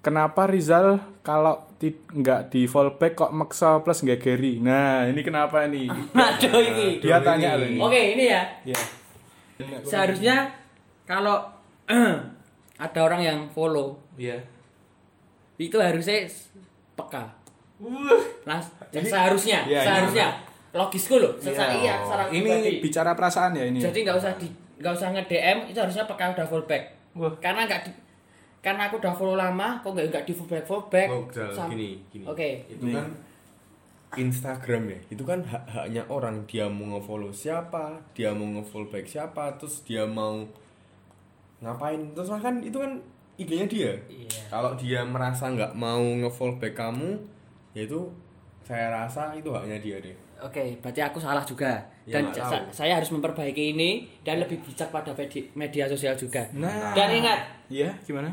Speaker 2: Kenapa Rizal kalau ti- nggak di fallback kok maksa plus nggak carry? Nah ini kenapa nih?
Speaker 3: Aduh ini.
Speaker 2: Dia tanya loh ini.
Speaker 3: Oke, ini ya.
Speaker 2: Iya.
Speaker 3: Seharusnya kalau ada orang yang follow,
Speaker 2: Iya.
Speaker 3: itu harusnya s- peka Nah, seharusnya
Speaker 2: Iya, iya.
Speaker 3: seharusnya logisku loh secara iya secara
Speaker 2: Ini
Speaker 3: pribadi.
Speaker 2: bicara perasaan ya ini.
Speaker 1: Iya.
Speaker 3: jadi nggak usah di nggak usah nge DM itu harusnya peka udah fullback
Speaker 2: Wah.
Speaker 3: karena nggak di- karena aku udah follow lama kok nggak nggak di fullback fullback
Speaker 1: Oh, Zal,
Speaker 3: Sam-
Speaker 1: gini, gini.
Speaker 3: oke
Speaker 1: Itu kan Instagram ya, itu kan hak haknya orang dia mau nge-follow siapa, dia mau nge-follow back siapa, terus dia mau ngapain, terus kan itu kan idenya dia.
Speaker 3: Iya.
Speaker 1: Kalau dia merasa nggak mau nge-follow back kamu, ya itu saya rasa itu haknya dia deh.
Speaker 3: oke berarti aku salah juga
Speaker 1: Ya,
Speaker 3: dan
Speaker 1: nggak
Speaker 3: sa-
Speaker 1: tahu.
Speaker 3: saya harus memperbaiki ini dan lebih bijak pada medi- media sosial juga
Speaker 2: Nah.
Speaker 3: dan ingat
Speaker 2: Iya gimana?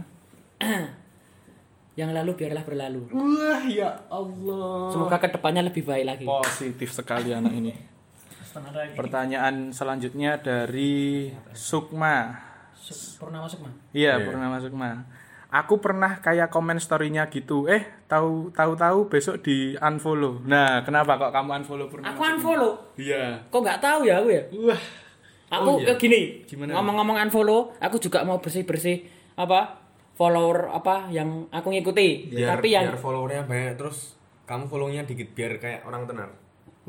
Speaker 3: yang lalu biarlah berlalu
Speaker 2: Wah ya
Speaker 1: Oh.
Speaker 2: Allah.
Speaker 3: semoga kedepannya lebih baik lagi
Speaker 2: Positif sekali anak ini. Pertanyaan selanjutnya dari Sukma.
Speaker 3: pernah masuk mah
Speaker 2: Iya,
Speaker 1: Iya.
Speaker 2: pernah masuk mah. Aku pernah kayak komen story-nya gitu. Eh, tahu tahu tahu besok di unfollow. Nah, kenapa kok kamu unfollow pernah?
Speaker 3: aku unfollow
Speaker 2: Iya.
Speaker 3: kok nggak tahu ya aku ya
Speaker 2: Wah.
Speaker 1: Oh
Speaker 3: Aku
Speaker 1: iya.
Speaker 3: eh, gini,
Speaker 2: Gimana?
Speaker 3: ngomong-ngomong unfollow, aku juga mau bersih-bersih apa follower apa yang aku ngikuti.
Speaker 1: Biar,
Speaker 3: Tapi yang
Speaker 1: biar followernya banyak, terus kamu follownya dikit biar kayak orang tenar.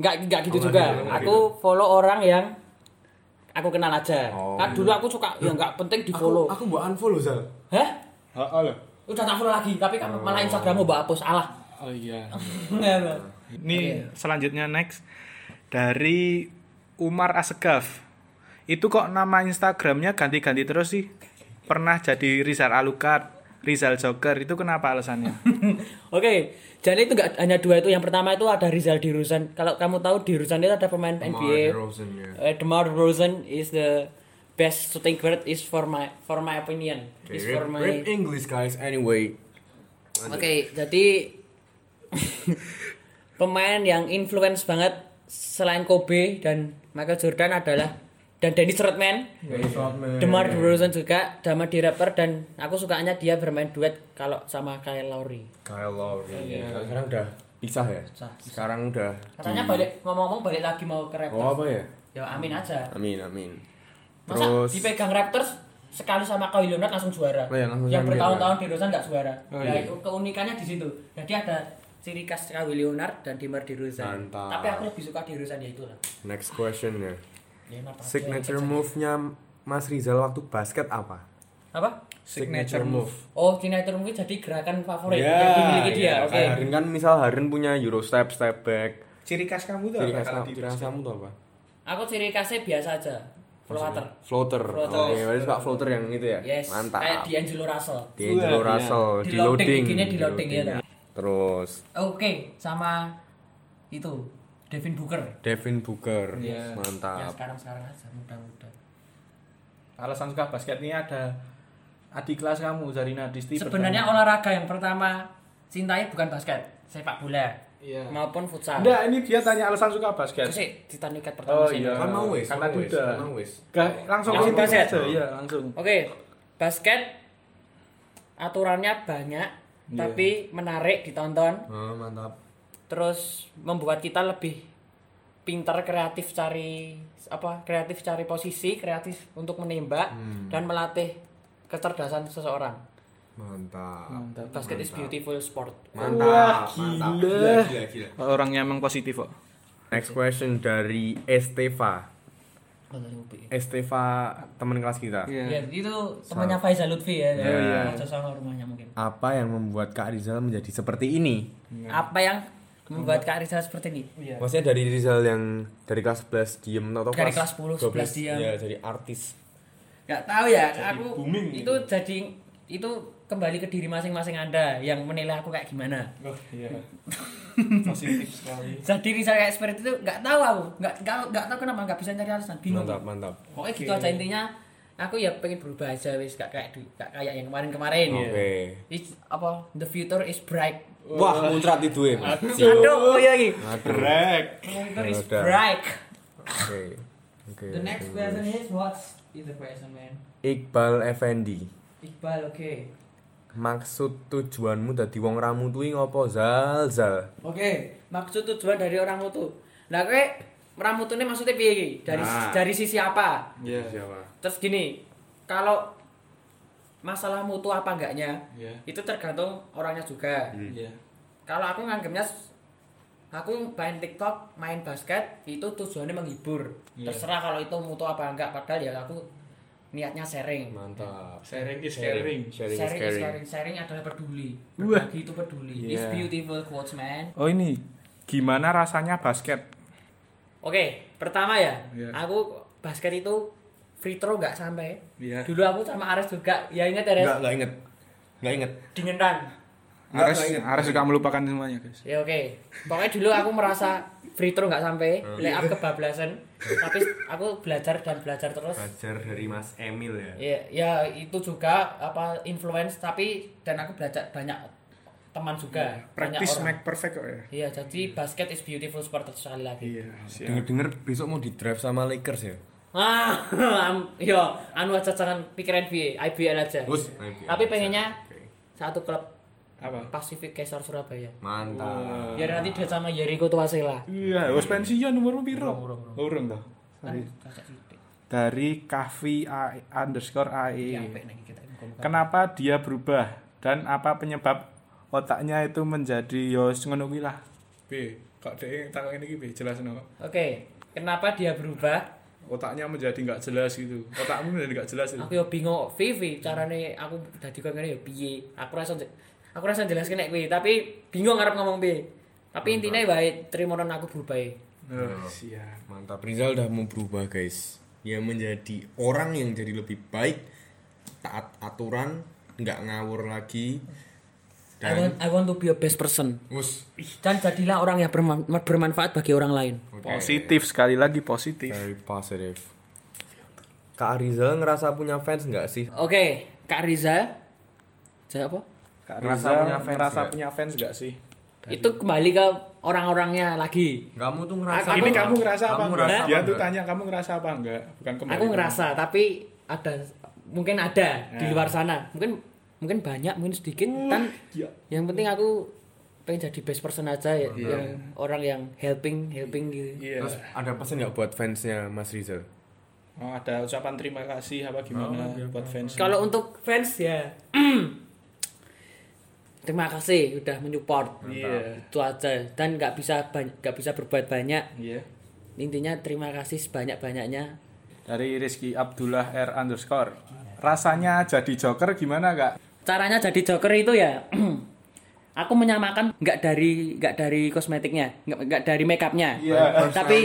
Speaker 3: nggak nggak gitu
Speaker 1: Oh,
Speaker 3: juga.
Speaker 1: nggak gitu, nggak
Speaker 3: aku follow orang yang aku kenal aja.
Speaker 1: Oh.
Speaker 3: kan dulu aku suka ya nggak penting di follow.
Speaker 1: Aku mau unfollow Zal.
Speaker 3: Hah?
Speaker 2: Oh, loh.
Speaker 3: Udah tak follow lagi, tapi
Speaker 1: Oh.
Speaker 3: kan malah Instagrammu mbak hapus alah.
Speaker 2: Oh iya. Ini selanjutnya next dari Umar Asegaf. Itu kok nama Instagramnya ganti-ganti terus sih? Pernah jadi Rizal Alucard, Rizal Joker. Itu kenapa alasannya?
Speaker 3: Oke, jadi itu nggak hanya dua itu. Yang pertama itu ada Rizal Dirusan. Kalau kamu tahu Dirusan itu ada pemain NBA.
Speaker 1: DeRozan, ya.
Speaker 3: Uh, DeMar DeRozan is the best shooting guard is for my for my opinion.
Speaker 1: Okay,
Speaker 3: is
Speaker 1: rip,
Speaker 3: for my
Speaker 1: rip English guys anyway.
Speaker 3: Oke, jadi pemain yang influence banget selain Kobe dan Michael Jordan adalah dan Dennis Rodman, DeMar DeRozan juga, Dama di rapper dan aku sukanya dia bermain duet kalau sama Kyle Lowry.
Speaker 1: Kyle Lowry. Sekarang udah Pisah ya?
Speaker 3: Pisah, pisah.
Speaker 1: Sekarang udah di-
Speaker 3: Katanya balik ngomong-ngomong balik lagi mau ke Raptors.
Speaker 1: Oh apa ya?
Speaker 3: Ya amin aja.
Speaker 1: Amin amin.
Speaker 3: Masa
Speaker 1: Terus
Speaker 3: dipegang Raptors sekali sama Kawhi Leonard langsung juara.
Speaker 1: Oh iya, langsung
Speaker 3: yang
Speaker 1: sama dia,
Speaker 3: bertahun-tahun di Rosen nggak juara.
Speaker 1: Oh
Speaker 3: nah,
Speaker 1: iya.
Speaker 3: itu keunikannya di situ. Jadi ada ciri khas Kawhi Leonard dan Dimar di Rosen.
Speaker 1: Mantap.
Speaker 3: Tapi aku lebih suka di Rosen ya itulah.
Speaker 1: next question ya.
Speaker 3: Leonard aja.
Speaker 1: Signature move-nya Mas Rizal waktu basket apa?
Speaker 3: apa?
Speaker 2: Signature move.
Speaker 3: Oh, signature move jadi gerakan favorit
Speaker 1: Ya,
Speaker 3: yang dimiliki dia.
Speaker 1: ya,
Speaker 3: gitu Oke.
Speaker 1: kayak Harin kan misal Harin punya Euro step step back.
Speaker 2: Ciri khas
Speaker 3: Iya,
Speaker 2: kamu tuh
Speaker 1: Ciri
Speaker 2: apa
Speaker 1: khas
Speaker 2: kalau
Speaker 1: kamu-
Speaker 2: di
Speaker 1: ciri khas
Speaker 2: basket?
Speaker 1: kamu tuh apa?
Speaker 3: Aku ciri khasnya biasa aja. Floater.
Speaker 1: Floater.
Speaker 3: Floater.
Speaker 1: Oke, berarti suka floater yang itu ya.
Speaker 3: Yes.
Speaker 1: Mantap.
Speaker 3: Kayak D'Angelo Russell.
Speaker 1: D'Angelo
Speaker 2: Wah,
Speaker 1: Russell
Speaker 3: iya.
Speaker 1: di
Speaker 3: Di loading,
Speaker 1: loading.
Speaker 3: giginya di
Speaker 1: di
Speaker 3: loading, ya,
Speaker 1: loading. Terus
Speaker 3: Oke, sama itu Devin Booker.
Speaker 1: Devin Booker.
Speaker 2: Iya.
Speaker 3: Ya
Speaker 1: Mantap.
Speaker 3: sekarang-sekarang aja muda-muda.
Speaker 2: Alasan suka basket ini ada adik kelas kamu Zarina Disti.
Speaker 3: Sebenarnya
Speaker 2: pertama.
Speaker 3: olahraga yang pertama cintai bukan basket, sepak bola
Speaker 2: Iya.
Speaker 3: maupun futsal.
Speaker 2: Enggak, ini dia tanya alasan suka basket.
Speaker 3: Itu sih titanikat pertama
Speaker 2: Oh
Speaker 3: sih.
Speaker 2: iya.
Speaker 1: Kan mau wes,
Speaker 2: Karena
Speaker 1: mau wes,
Speaker 2: duda.
Speaker 1: kan mau wes.
Speaker 2: Gak- langsung
Speaker 3: Langsung
Speaker 2: ke
Speaker 3: basket.
Speaker 2: aja, Iya, langsung.
Speaker 3: Oke, basket aturannya banyak tapi menarik ditonton.
Speaker 1: Oh, mantap.
Speaker 3: Terus membuat kita lebih pintar kreatif cari apa kreatif cari posisi kreatif untuk menembak dan melatih kecerdasan seseorang
Speaker 1: Mantap.
Speaker 3: basket is beautiful sport
Speaker 1: Mantap.
Speaker 2: Wah,
Speaker 1: mantap.
Speaker 2: gila.
Speaker 1: gila, gila.
Speaker 2: Orangnya emang positif kok.
Speaker 1: Next question dari Esteva. Esteva teman kelas kita.
Speaker 3: Ya, itu temannya Faizal Lutfi ya.
Speaker 1: Iya, iya.
Speaker 3: Aja sama rumahnya mungkin.
Speaker 1: Apa yang membuat Kak Rizal menjadi seperti ini?
Speaker 3: Apa yang membuat Kak Rizal seperti ini?
Speaker 2: Ya. Iya.
Speaker 1: Maksudnya dari Rizal yang dari kelas 11 diem atau
Speaker 3: Dari kelas 10, 11 diam.
Speaker 1: Iya, jadi artis.
Speaker 3: Gak tahu ya, aku
Speaker 1: gitu.
Speaker 3: itu jadi itu kembali ke diri masing-masing Anda yang menilai aku kayak gimana.
Speaker 2: Oh iya. positif sekali.
Speaker 3: Jadi Rizal kayak seperti itu nggak tahu aku, nggak nggak nggak tahu kenapa nggak bisa cari alasan bingung.
Speaker 1: Mantap, mantap.
Speaker 3: Pokoknya gitu aja intinya aku ya pengen berubah aja wis gak kayak du- gak kayak yang kemarin-kemarin.
Speaker 1: Oke.
Speaker 3: It's- apa the future is bright.
Speaker 1: Wah, muncrat itu ya.
Speaker 3: Aduh, oh iya iki.
Speaker 1: Aduh.
Speaker 2: Brek.
Speaker 3: The future is
Speaker 1: Ya Udah.
Speaker 3: bright.
Speaker 1: Oke. Oke.
Speaker 5: The next question is what's is the question man?
Speaker 1: Iqbal Effendi.
Speaker 5: Iqbal, okay.
Speaker 1: Maksud tujuanmu dadi wong ramu kuwi ngopo Zal Zal?
Speaker 5: Okay.
Speaker 3: maksud tujuan dari orang mutu nah kowe orang mutune maksudnya piye iki? dari
Speaker 1: Nah.
Speaker 3: dari sisi apa
Speaker 2: Iya.
Speaker 3: terus gini kalau masalah mutu apa enggaknya
Speaker 2: Iya.
Speaker 3: itu tergantung orangnya juga
Speaker 1: Hmm.
Speaker 2: Iya.
Speaker 3: kalau aku nganggapnya aku main TikTok main basket itu tujuannya menghibur
Speaker 2: Iya.
Speaker 3: terserah kalau itu mutu apa enggak padahal ya aku niatnya sharing
Speaker 1: Mantap.
Speaker 2: Sharing is
Speaker 1: Sharing, is
Speaker 3: sharing, is
Speaker 1: caring.
Speaker 3: sharing sharing adalah peduli
Speaker 2: Wah.
Speaker 3: berbagi itu peduli it's
Speaker 2: Iya.
Speaker 3: beautiful quotes man
Speaker 2: Oh ini gimana rasanya basket?
Speaker 3: Oke, pertama ya,
Speaker 2: Iya.
Speaker 3: aku basket itu free throw nggak sampai.
Speaker 2: Iya.
Speaker 3: Dulu aku sama Ares juga, ya ingat ya Ares,
Speaker 1: Enggak, enggak inget. Enggak inget.
Speaker 3: dingenan.
Speaker 1: Nggak,
Speaker 2: Harus
Speaker 1: nggak ingat.
Speaker 2: harus suka melupakan semuanya guys.
Speaker 3: Ya oke, pokoknya dulu aku merasa free throw nggak sampai,
Speaker 2: Iya.
Speaker 3: lay up kebablasan, tapi aku belajar dan belajar terus.
Speaker 1: Belajar dari Mas Emil ya.
Speaker 3: Ya, ya itu juga apa influence tapi dan aku belajar banyak teman juga, banyak
Speaker 2: Iya, Practice
Speaker 3: orang.
Speaker 2: make perfect kok ya.
Speaker 3: Iya, jadi basket is beautiful sport terus sekali lagi.
Speaker 2: Iya. siap.
Speaker 1: Dengar-dengar besok mau di drive sama Lakers ya.
Speaker 3: Ah, am- yo, anu aja jangan pikiran NBA, IBL aja.
Speaker 2: Oh,
Speaker 1: Wus.
Speaker 3: Tapi pengennya satu klub
Speaker 2: Apa?
Speaker 3: Pacific Kaisar Surabaya.
Speaker 1: Mantap.
Speaker 3: Biar nanti dia sama Jericho Tuasela.
Speaker 2: Iya, wis pensiun umurmu piro? Urung toh.
Speaker 3: Kakak sidik.
Speaker 2: Dari Kavi A- E underscore
Speaker 3: Ya,
Speaker 2: AE.
Speaker 3: apik nih kita ini, muka-muka.
Speaker 2: Kenapa dia berubah dan apa penyebab otaknya itu menjadi yos ngono kuwi lah. B, kok dhek takon ini B jelas no.
Speaker 3: Oke, kenapa dia berubah?
Speaker 2: Otaknya menjadi nggak jelas gitu. Otakmu menjadi nggak jelas
Speaker 3: Aku yo bingung kok, Vivi carane aku dadi kok ngene yo piye. Aku rasa aku rasa jelas nek kuwi, tapi bingung arep ngomong piye. Tapi intinya baik, trimonon aku berubah. ya.
Speaker 2: Oh, siap.
Speaker 1: Mantap. Rizal udah mau berubah, guys. Ya menjadi orang yang jadi lebih baik, taat aturan, nggak ngawur lagi.
Speaker 3: I want,
Speaker 1: Dan
Speaker 3: I want to be a best person.
Speaker 1: Wus.
Speaker 3: Dan jadilah orang yang berman- bermanfaat bagi orang lain.
Speaker 1: Oke.
Speaker 2: Positif sekali lagi positif.
Speaker 1: Very positive. Kak Rizal ngerasa punya fans nggak sih?
Speaker 3: Oke, Kak Riza. Saya apa?
Speaker 2: Kak
Speaker 1: Ngerasa
Speaker 2: Rizal
Speaker 1: punya fans
Speaker 2: ngerasa
Speaker 1: nggak?
Speaker 2: punya fans nggak sih?
Speaker 3: Itu kembali ke orang-orangnya lagi.
Speaker 1: Kamu tuh
Speaker 3: ngerasa
Speaker 1: ngerasa.
Speaker 3: Aku-
Speaker 2: Ini kamu ngerasa apa
Speaker 1: Kamu
Speaker 2: enggak?
Speaker 1: ngerasa
Speaker 2: Dia
Speaker 1: apa
Speaker 2: tuh
Speaker 1: enggak?
Speaker 2: tanya kamu ngerasa apa enggak? Bukan kembali.
Speaker 3: Aku ngerasa tapi ada mungkin
Speaker 2: Nah.
Speaker 3: ada di luar sana. Mungkin mungkin banyak, mungkin sedikit kan
Speaker 2: Iya.
Speaker 3: yang penting aku pengen jadi best person aja ya,
Speaker 1: Iya.
Speaker 3: yang orang yang helping helping gitu
Speaker 2: Iya.
Speaker 1: Terus ada pesan nggak buat fansnya Mas Rizal?
Speaker 2: Oh, ada ucapan terima kasih apa gimana buat fans.
Speaker 3: kalau untuk fans ya terima kasih udah menyupport
Speaker 2: Iya.
Speaker 3: itu aja dan nggak bisa ban- nggak bisa berbuat banyak
Speaker 2: Iya.
Speaker 3: intinya terima kasih sebanyak banyaknya
Speaker 2: Dari Rizky Abdullah R underscore. Rasanya jadi joker gimana kak?
Speaker 3: caranya jadi joker itu ya aku menyamakan nggak dari nggak dari kosmetiknya nggak nggak dari makeupnya
Speaker 1: Personality-nya.
Speaker 3: tapi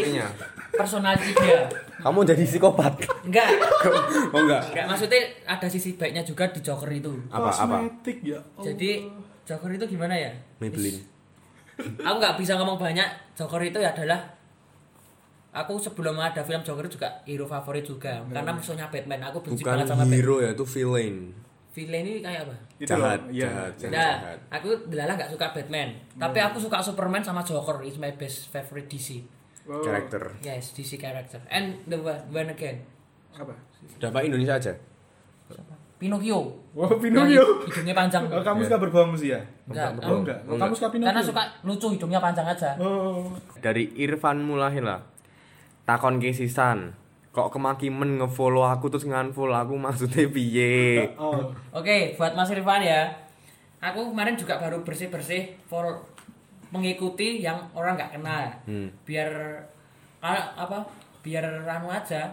Speaker 5: personality dia
Speaker 6: Kamu jadi psikopat.
Speaker 3: nggak
Speaker 1: oh enggak.
Speaker 5: Enggak maksudnya ada sisi baiknya juga di Joker itu.
Speaker 1: Apa apa?
Speaker 2: Kosmetik ya.
Speaker 5: Jadi Joker itu gimana ya?
Speaker 1: Maybelline.
Speaker 5: Aku nggak bisa ngomong banyak. Joker itu ya adalah aku sebelum ada film Joker juga hero favorit juga karena musuhnya Batman. Aku benci
Speaker 1: Bukan
Speaker 5: banget sama Batman.
Speaker 1: hero ya, itu villain.
Speaker 5: Villain ini kayak apa?
Speaker 2: Itu
Speaker 1: Jahat,
Speaker 2: loh, iya.
Speaker 1: jahat, jahat,
Speaker 5: Nah,
Speaker 1: jahat.
Speaker 5: aku delala nggak suka Batman, tapi aku suka Superman sama Joker. It's my best favorite DC.
Speaker 2: Oh.
Speaker 1: Karakter.
Speaker 5: Yes, DC character. And the one, one again,
Speaker 4: Apa?
Speaker 1: Udah Pak Indonesia aja.
Speaker 5: Pinocchio.
Speaker 2: Wah, Oh, Pinocchio.
Speaker 5: Yang hidungnya panjang.
Speaker 2: Oh, kamu suka berbohong sih ya?
Speaker 5: Enggak,
Speaker 1: Enggak,
Speaker 5: kamu-
Speaker 1: Oh,
Speaker 2: enggak.
Speaker 1: enggak.
Speaker 2: Kamu suka Pinocchio?
Speaker 5: karena suka lucu hidungnya panjang aja.
Speaker 2: Oh.
Speaker 1: Dari Irfan Mulahila. Takon kisisan. Kok kemaki men ngefollow aku terus nganfollow aku maksudnya piye?
Speaker 2: Oh.
Speaker 5: Oke, buat Mas Irfan ya. Aku kemarin juga baru bersih-bersih for mengikuti yang orang nggak kenal.
Speaker 1: Hmm.
Speaker 5: Biar ah, apa? Biar ranu aja.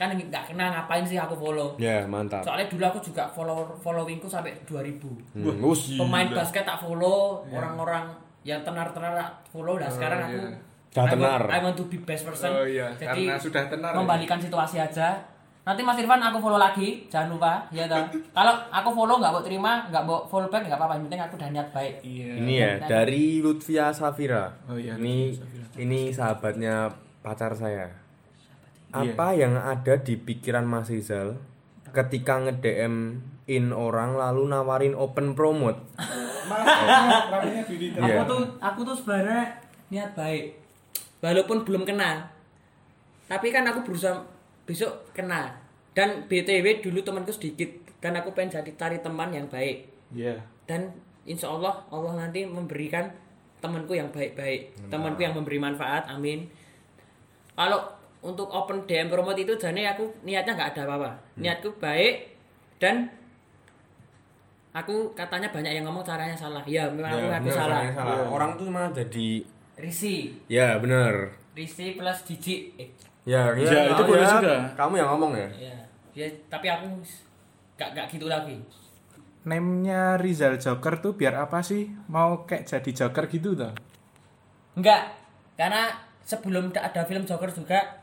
Speaker 5: Kan nggak kenal ngapain sih aku follow.
Speaker 1: Ya, mantap.
Speaker 5: Soalnya dulu aku juga follow followingku sampai 2000.
Speaker 1: Hmm. Wus.
Speaker 4: Iya,
Speaker 5: Pemain basket tak follow, orang-orang yang tenar-tenar tak follow. Nah, sekarang aku
Speaker 4: iya.
Speaker 1: Dah
Speaker 5: I want-
Speaker 1: tenar.
Speaker 5: I want to be best person.
Speaker 4: Oh, iya.
Speaker 5: Jadi
Speaker 4: Karena sudah tenar, ya.
Speaker 5: Membalikan situasi aja. Nanti Mas Irfan aku follow lagi, jangan lupa ya toh. Kalau aku follow nggak mau terima, nggak mau follow back nggak apa-apa, yang penting aku udah niat baik.
Speaker 4: Iya.
Speaker 1: Ini ya dari Lutfia Safira.
Speaker 4: Oh iya,
Speaker 1: Ini ini sahabatnya pacar saya. Apa yang ada di pikiran Mas Rizal ketika nge-DM in orang lalu nawarin open promote?
Speaker 4: Malah ramenya di Twitter.
Speaker 1: Iya.
Speaker 5: Aku tuh aku tuh sebenarnya niat baik.
Speaker 3: walaupun belum kenal tapi kan aku berusaha besok kenal dan btw dulu temanku sedikit dan aku pengen jadi cari teman yang baik
Speaker 2: Iya.
Speaker 3: dan insya Allah Allah nanti memberikan temanku yang baik-baik temanku yang memberi manfaat amin kalau untuk open DM promote itu jane aku niatnya nggak ada apa-apa niatku baik dan aku katanya banyak yang ngomong caranya salah ya memang aku
Speaker 1: Iya,
Speaker 3: ngaku salah
Speaker 1: Orang tuh malah jadi
Speaker 5: Risi,
Speaker 1: Ya, bener
Speaker 5: Risi plus Jiji. Eh,
Speaker 1: Ya,
Speaker 2: Ya, itu boleh juga.
Speaker 1: Kamu yang ngomong ya?
Speaker 5: ya. Ya, tapi aku nggak nggak gitu lagi.
Speaker 2: Name-nya Rizal Joker tuh biar apa sih? Mau kayak jadi Joker gitu tuh?
Speaker 5: Enggak, karena sebelum da- ada film Joker juga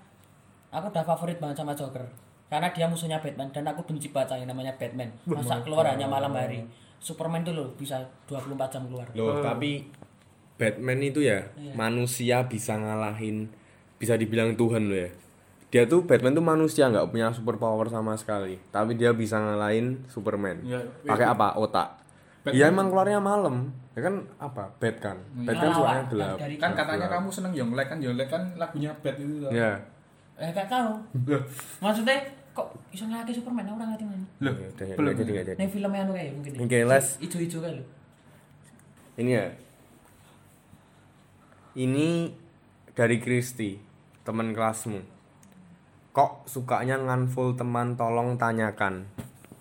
Speaker 5: aku udah favorit banget sama Joker. Karena dia musuhnya Batman dan aku benci baca yang namanya Batman. Masa keluar hanya malam hari. Superman tuh loh bisa 24 jam keluar.
Speaker 1: Loh, tapi Batman itu ya manusia bisa ngalahin bisa dibilang Tuhan loh ya. Dia tuh Batman tuh manusia nggak punya super power sama sekali, tapi dia bisa ngalahin Superman.
Speaker 2: Ya,
Speaker 1: Pakai apa? Otak. Ya emang keluarnya malam. Ya kan apa? Bat kan. Bat kan
Speaker 5: Ngelawan.
Speaker 1: suaranya gelap.
Speaker 5: Dari
Speaker 6: Nah,
Speaker 4: Kan katanya
Speaker 6: iya.
Speaker 4: kamu seneng Yonglek kan Yonglek kan lagunya Bad itu tuh.
Speaker 1: Ya.
Speaker 5: eh gak tahu.
Speaker 4: Loh,
Speaker 5: Maksudnya kok iso ngelaki Superman aku ora ngerti mana.
Speaker 1: Loh,
Speaker 4: belum.
Speaker 1: jadi nggak jadi.
Speaker 5: Ning filmnya anu kayak mungkin.
Speaker 1: Oke, les.
Speaker 5: Ijo-ijo kayak lho.
Speaker 1: Ini ya. Ini dari Kristi, teman kelasmu. Kok sukanya nganful teman tolong tanyakan.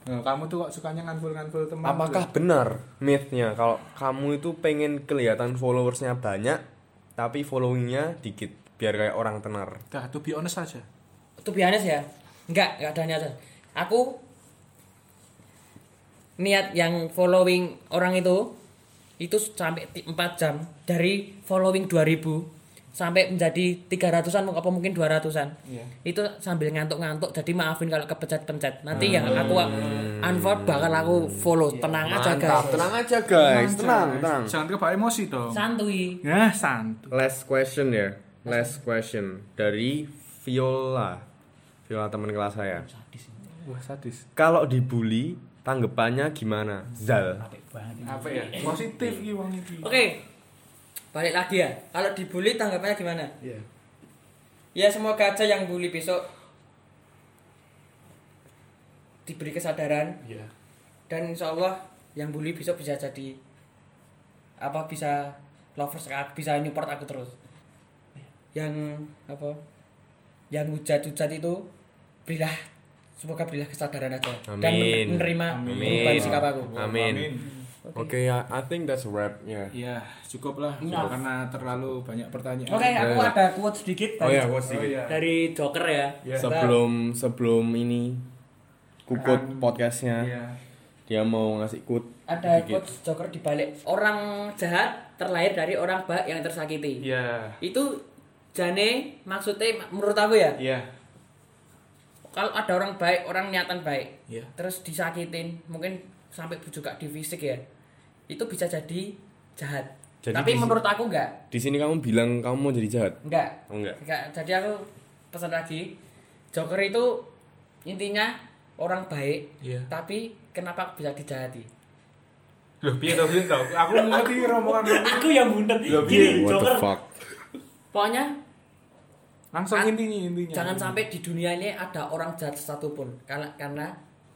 Speaker 4: Nah, kamu tuh kok sukanya nganful-nganful teman.
Speaker 1: Apakah
Speaker 4: tuh?
Speaker 1: benar mythnya kalau kamu itu pengen kelihatan followersnya banyak tapi followingnya dikit biar kayak orang tenar?
Speaker 2: Dah, to be honest aja.
Speaker 5: Itu biasa ya.
Speaker 3: Enggak, enggak ada niatan. Aku niat yang following orang itu itu sampai ti- 4 jam dari following 2000 sampai menjadi 300-an apa mungkin 200-an. Itu sambil ngantuk-ngantuk jadi maafin kalau kepencet-pencet. Nanti yang aku unfollow bakal aku follow. Tenang aja guys.
Speaker 1: tenang aja guys, tenang, tenang.
Speaker 2: Jangan kebawa emosi dong.
Speaker 5: Santuy.
Speaker 2: Nah, santu.
Speaker 1: Last question ya, last question dari Viola, Viola teman kelas saya.
Speaker 2: Wah, sadis.
Speaker 1: Kalau dibully tanggapannya gimana? Zal.
Speaker 4: apa ya? Positif iki wong iki.
Speaker 3: Oke. Balik lagi ya. Kalau dibully tanggapannya gimana?
Speaker 4: Iya.
Speaker 3: Ya semoga aja yang bully besok diberi kesadaran
Speaker 4: Iya.
Speaker 3: dan insya Allah yang bully besok bisa jadi
Speaker 5: apa bisa lovers aku bisa nyupport aku terus yang apa yang hujat-hujat itu berilah semoga berilah kesadaran aja dan
Speaker 1: Amin.
Speaker 5: menerima perubahan
Speaker 1: Amin.
Speaker 5: sikap aku
Speaker 1: Amin. Oke, ya, I think that's a wrap. Ya.
Speaker 6: Ya, cukuplah
Speaker 5: Enough.
Speaker 6: karena terlalu banyak pertanyaan.
Speaker 5: oke aku ada quote sedikit
Speaker 1: Oh
Speaker 5: dari-
Speaker 1: ya, what's
Speaker 6: Oh
Speaker 1: the-
Speaker 6: iya.
Speaker 3: dari Joker ya
Speaker 1: Sebelum sebelum ini kukut
Speaker 6: Kan.
Speaker 1: podcastnya,
Speaker 6: Iya.
Speaker 1: dia mau ngasih kut.
Speaker 5: ada
Speaker 1: sedikit.
Speaker 5: quote joker di balik
Speaker 3: orang jahat terlahir dari orang baik yang tersakiti
Speaker 6: Iya.
Speaker 3: itu jane maksudnya menurut aku ya
Speaker 6: Iya.
Speaker 3: kalau ada orang baik orang niatan baik
Speaker 6: Iya.
Speaker 3: terus disakitin mungkin sampai juga di fisik ya itu bisa jadi jahat
Speaker 1: Jadi
Speaker 3: tapi
Speaker 1: di-
Speaker 3: menurut aku enggak
Speaker 1: Di sini kamu bilang kamu mau jadi jahat.
Speaker 3: enggak
Speaker 1: Oh
Speaker 6: Iya.
Speaker 1: enggak.
Speaker 3: Enggak, jadi aku pesan lagi. Joker itu intinya orang baik,
Speaker 6: Iya.
Speaker 3: tapi kenapa bisa dijahati?
Speaker 6: Loh, piye to, piye to? Aku ngerti rombongan lu.
Speaker 5: aku yang bundet
Speaker 6: Iya,
Speaker 1: What the fuck?
Speaker 3: Pokoknya
Speaker 2: Langsung
Speaker 3: Ah,
Speaker 2: intinya
Speaker 6: Iya.
Speaker 2: intinya.
Speaker 3: jangan sampai di dunia ini ada orang jahat satupun karena karena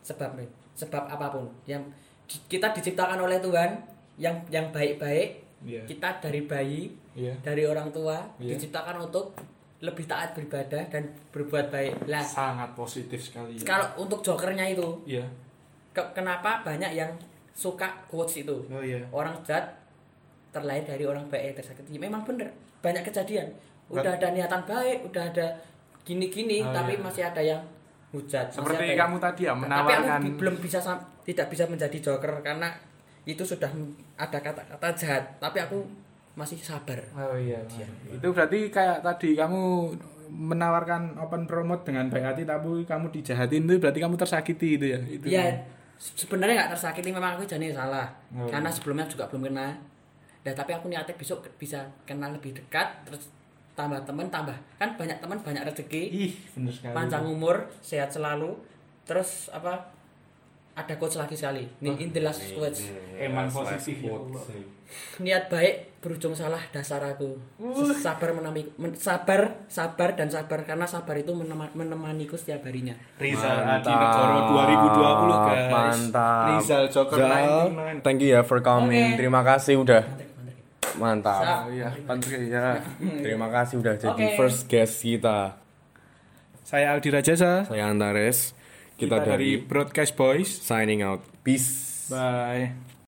Speaker 3: sebab sebab apapun yang di- kita diciptakan oleh Tuhan yang yang baik-baik.
Speaker 6: Iya.
Speaker 3: Kita dari bayi,
Speaker 6: Iya.
Speaker 3: dari orang tua
Speaker 6: Iya.
Speaker 3: diciptakan untuk lebih taat beribadah dan berbuat baik. Lah,
Speaker 6: Sangat positif sekali. ya.
Speaker 4: Kan-
Speaker 3: kalau untuk jokernya itu
Speaker 6: Iya.
Speaker 3: Ke- kenapa banyak yang suka quotes itu
Speaker 6: Oh iya.
Speaker 3: orang jahat terlahir dari orang baik yang tersakiti Ya, memang bener banyak kejadian udah ada niatan baik udah ada gini-gini
Speaker 6: Oh,
Speaker 3: tapi
Speaker 6: iya.
Speaker 3: masih ada yang hujat masih
Speaker 2: Seperti
Speaker 3: ada yang-
Speaker 2: kamu tadi ya
Speaker 3: tapi aku
Speaker 2: menawarkan
Speaker 3: bi-
Speaker 4: gitu.
Speaker 3: belum bisa sam- tidak bisa menjadi joker karena itu sudah m- ada kata-kata jahat tapi aku masih sabar
Speaker 6: Oh iya.
Speaker 2: itu berarti kayak tadi kamu menawarkan open promote dengan baik hati tapi kamu dijahatin itu berarti kamu tersakiti itu ya itu
Speaker 3: ya se- sebenarnya nggak tersakiti memang aku jadi salah
Speaker 6: Oh,
Speaker 3: karena sebelumnya juga belum kenal nah, tapi aku niatnya besok ke- bisa kenal lebih dekat terus tambah teman tambah kan banyak teman banyak rezeki
Speaker 6: Ih, bener sekali.
Speaker 3: panjang umur sehat selalu terus apa ada coach lagi sekali nih intilah quotes
Speaker 6: Emang positif ya Allah.
Speaker 3: niat baik berujung salah dasar aku sabar menami men- sabar sabar dan sabar karena sabar itu menema- menemaniku setiap harinya
Speaker 6: Rizal Adi Negoro 2020 guys.
Speaker 1: Mantap.
Speaker 6: Rizal Joker
Speaker 1: Zal,
Speaker 6: 99.
Speaker 1: Thank you ya for coming. Terima kasih udah.
Speaker 3: Siap.
Speaker 1: Mantap.
Speaker 6: Oh iya, Pantri ya.
Speaker 1: Terima kasih udah jadi
Speaker 3: Oke.
Speaker 1: first guest kita.
Speaker 2: saya Aldi Rajasa
Speaker 1: Saya Antares. Kita,
Speaker 2: kita
Speaker 1: dari
Speaker 2: dari Broadcast Boys
Speaker 1: signing out. Peace.
Speaker 2: bye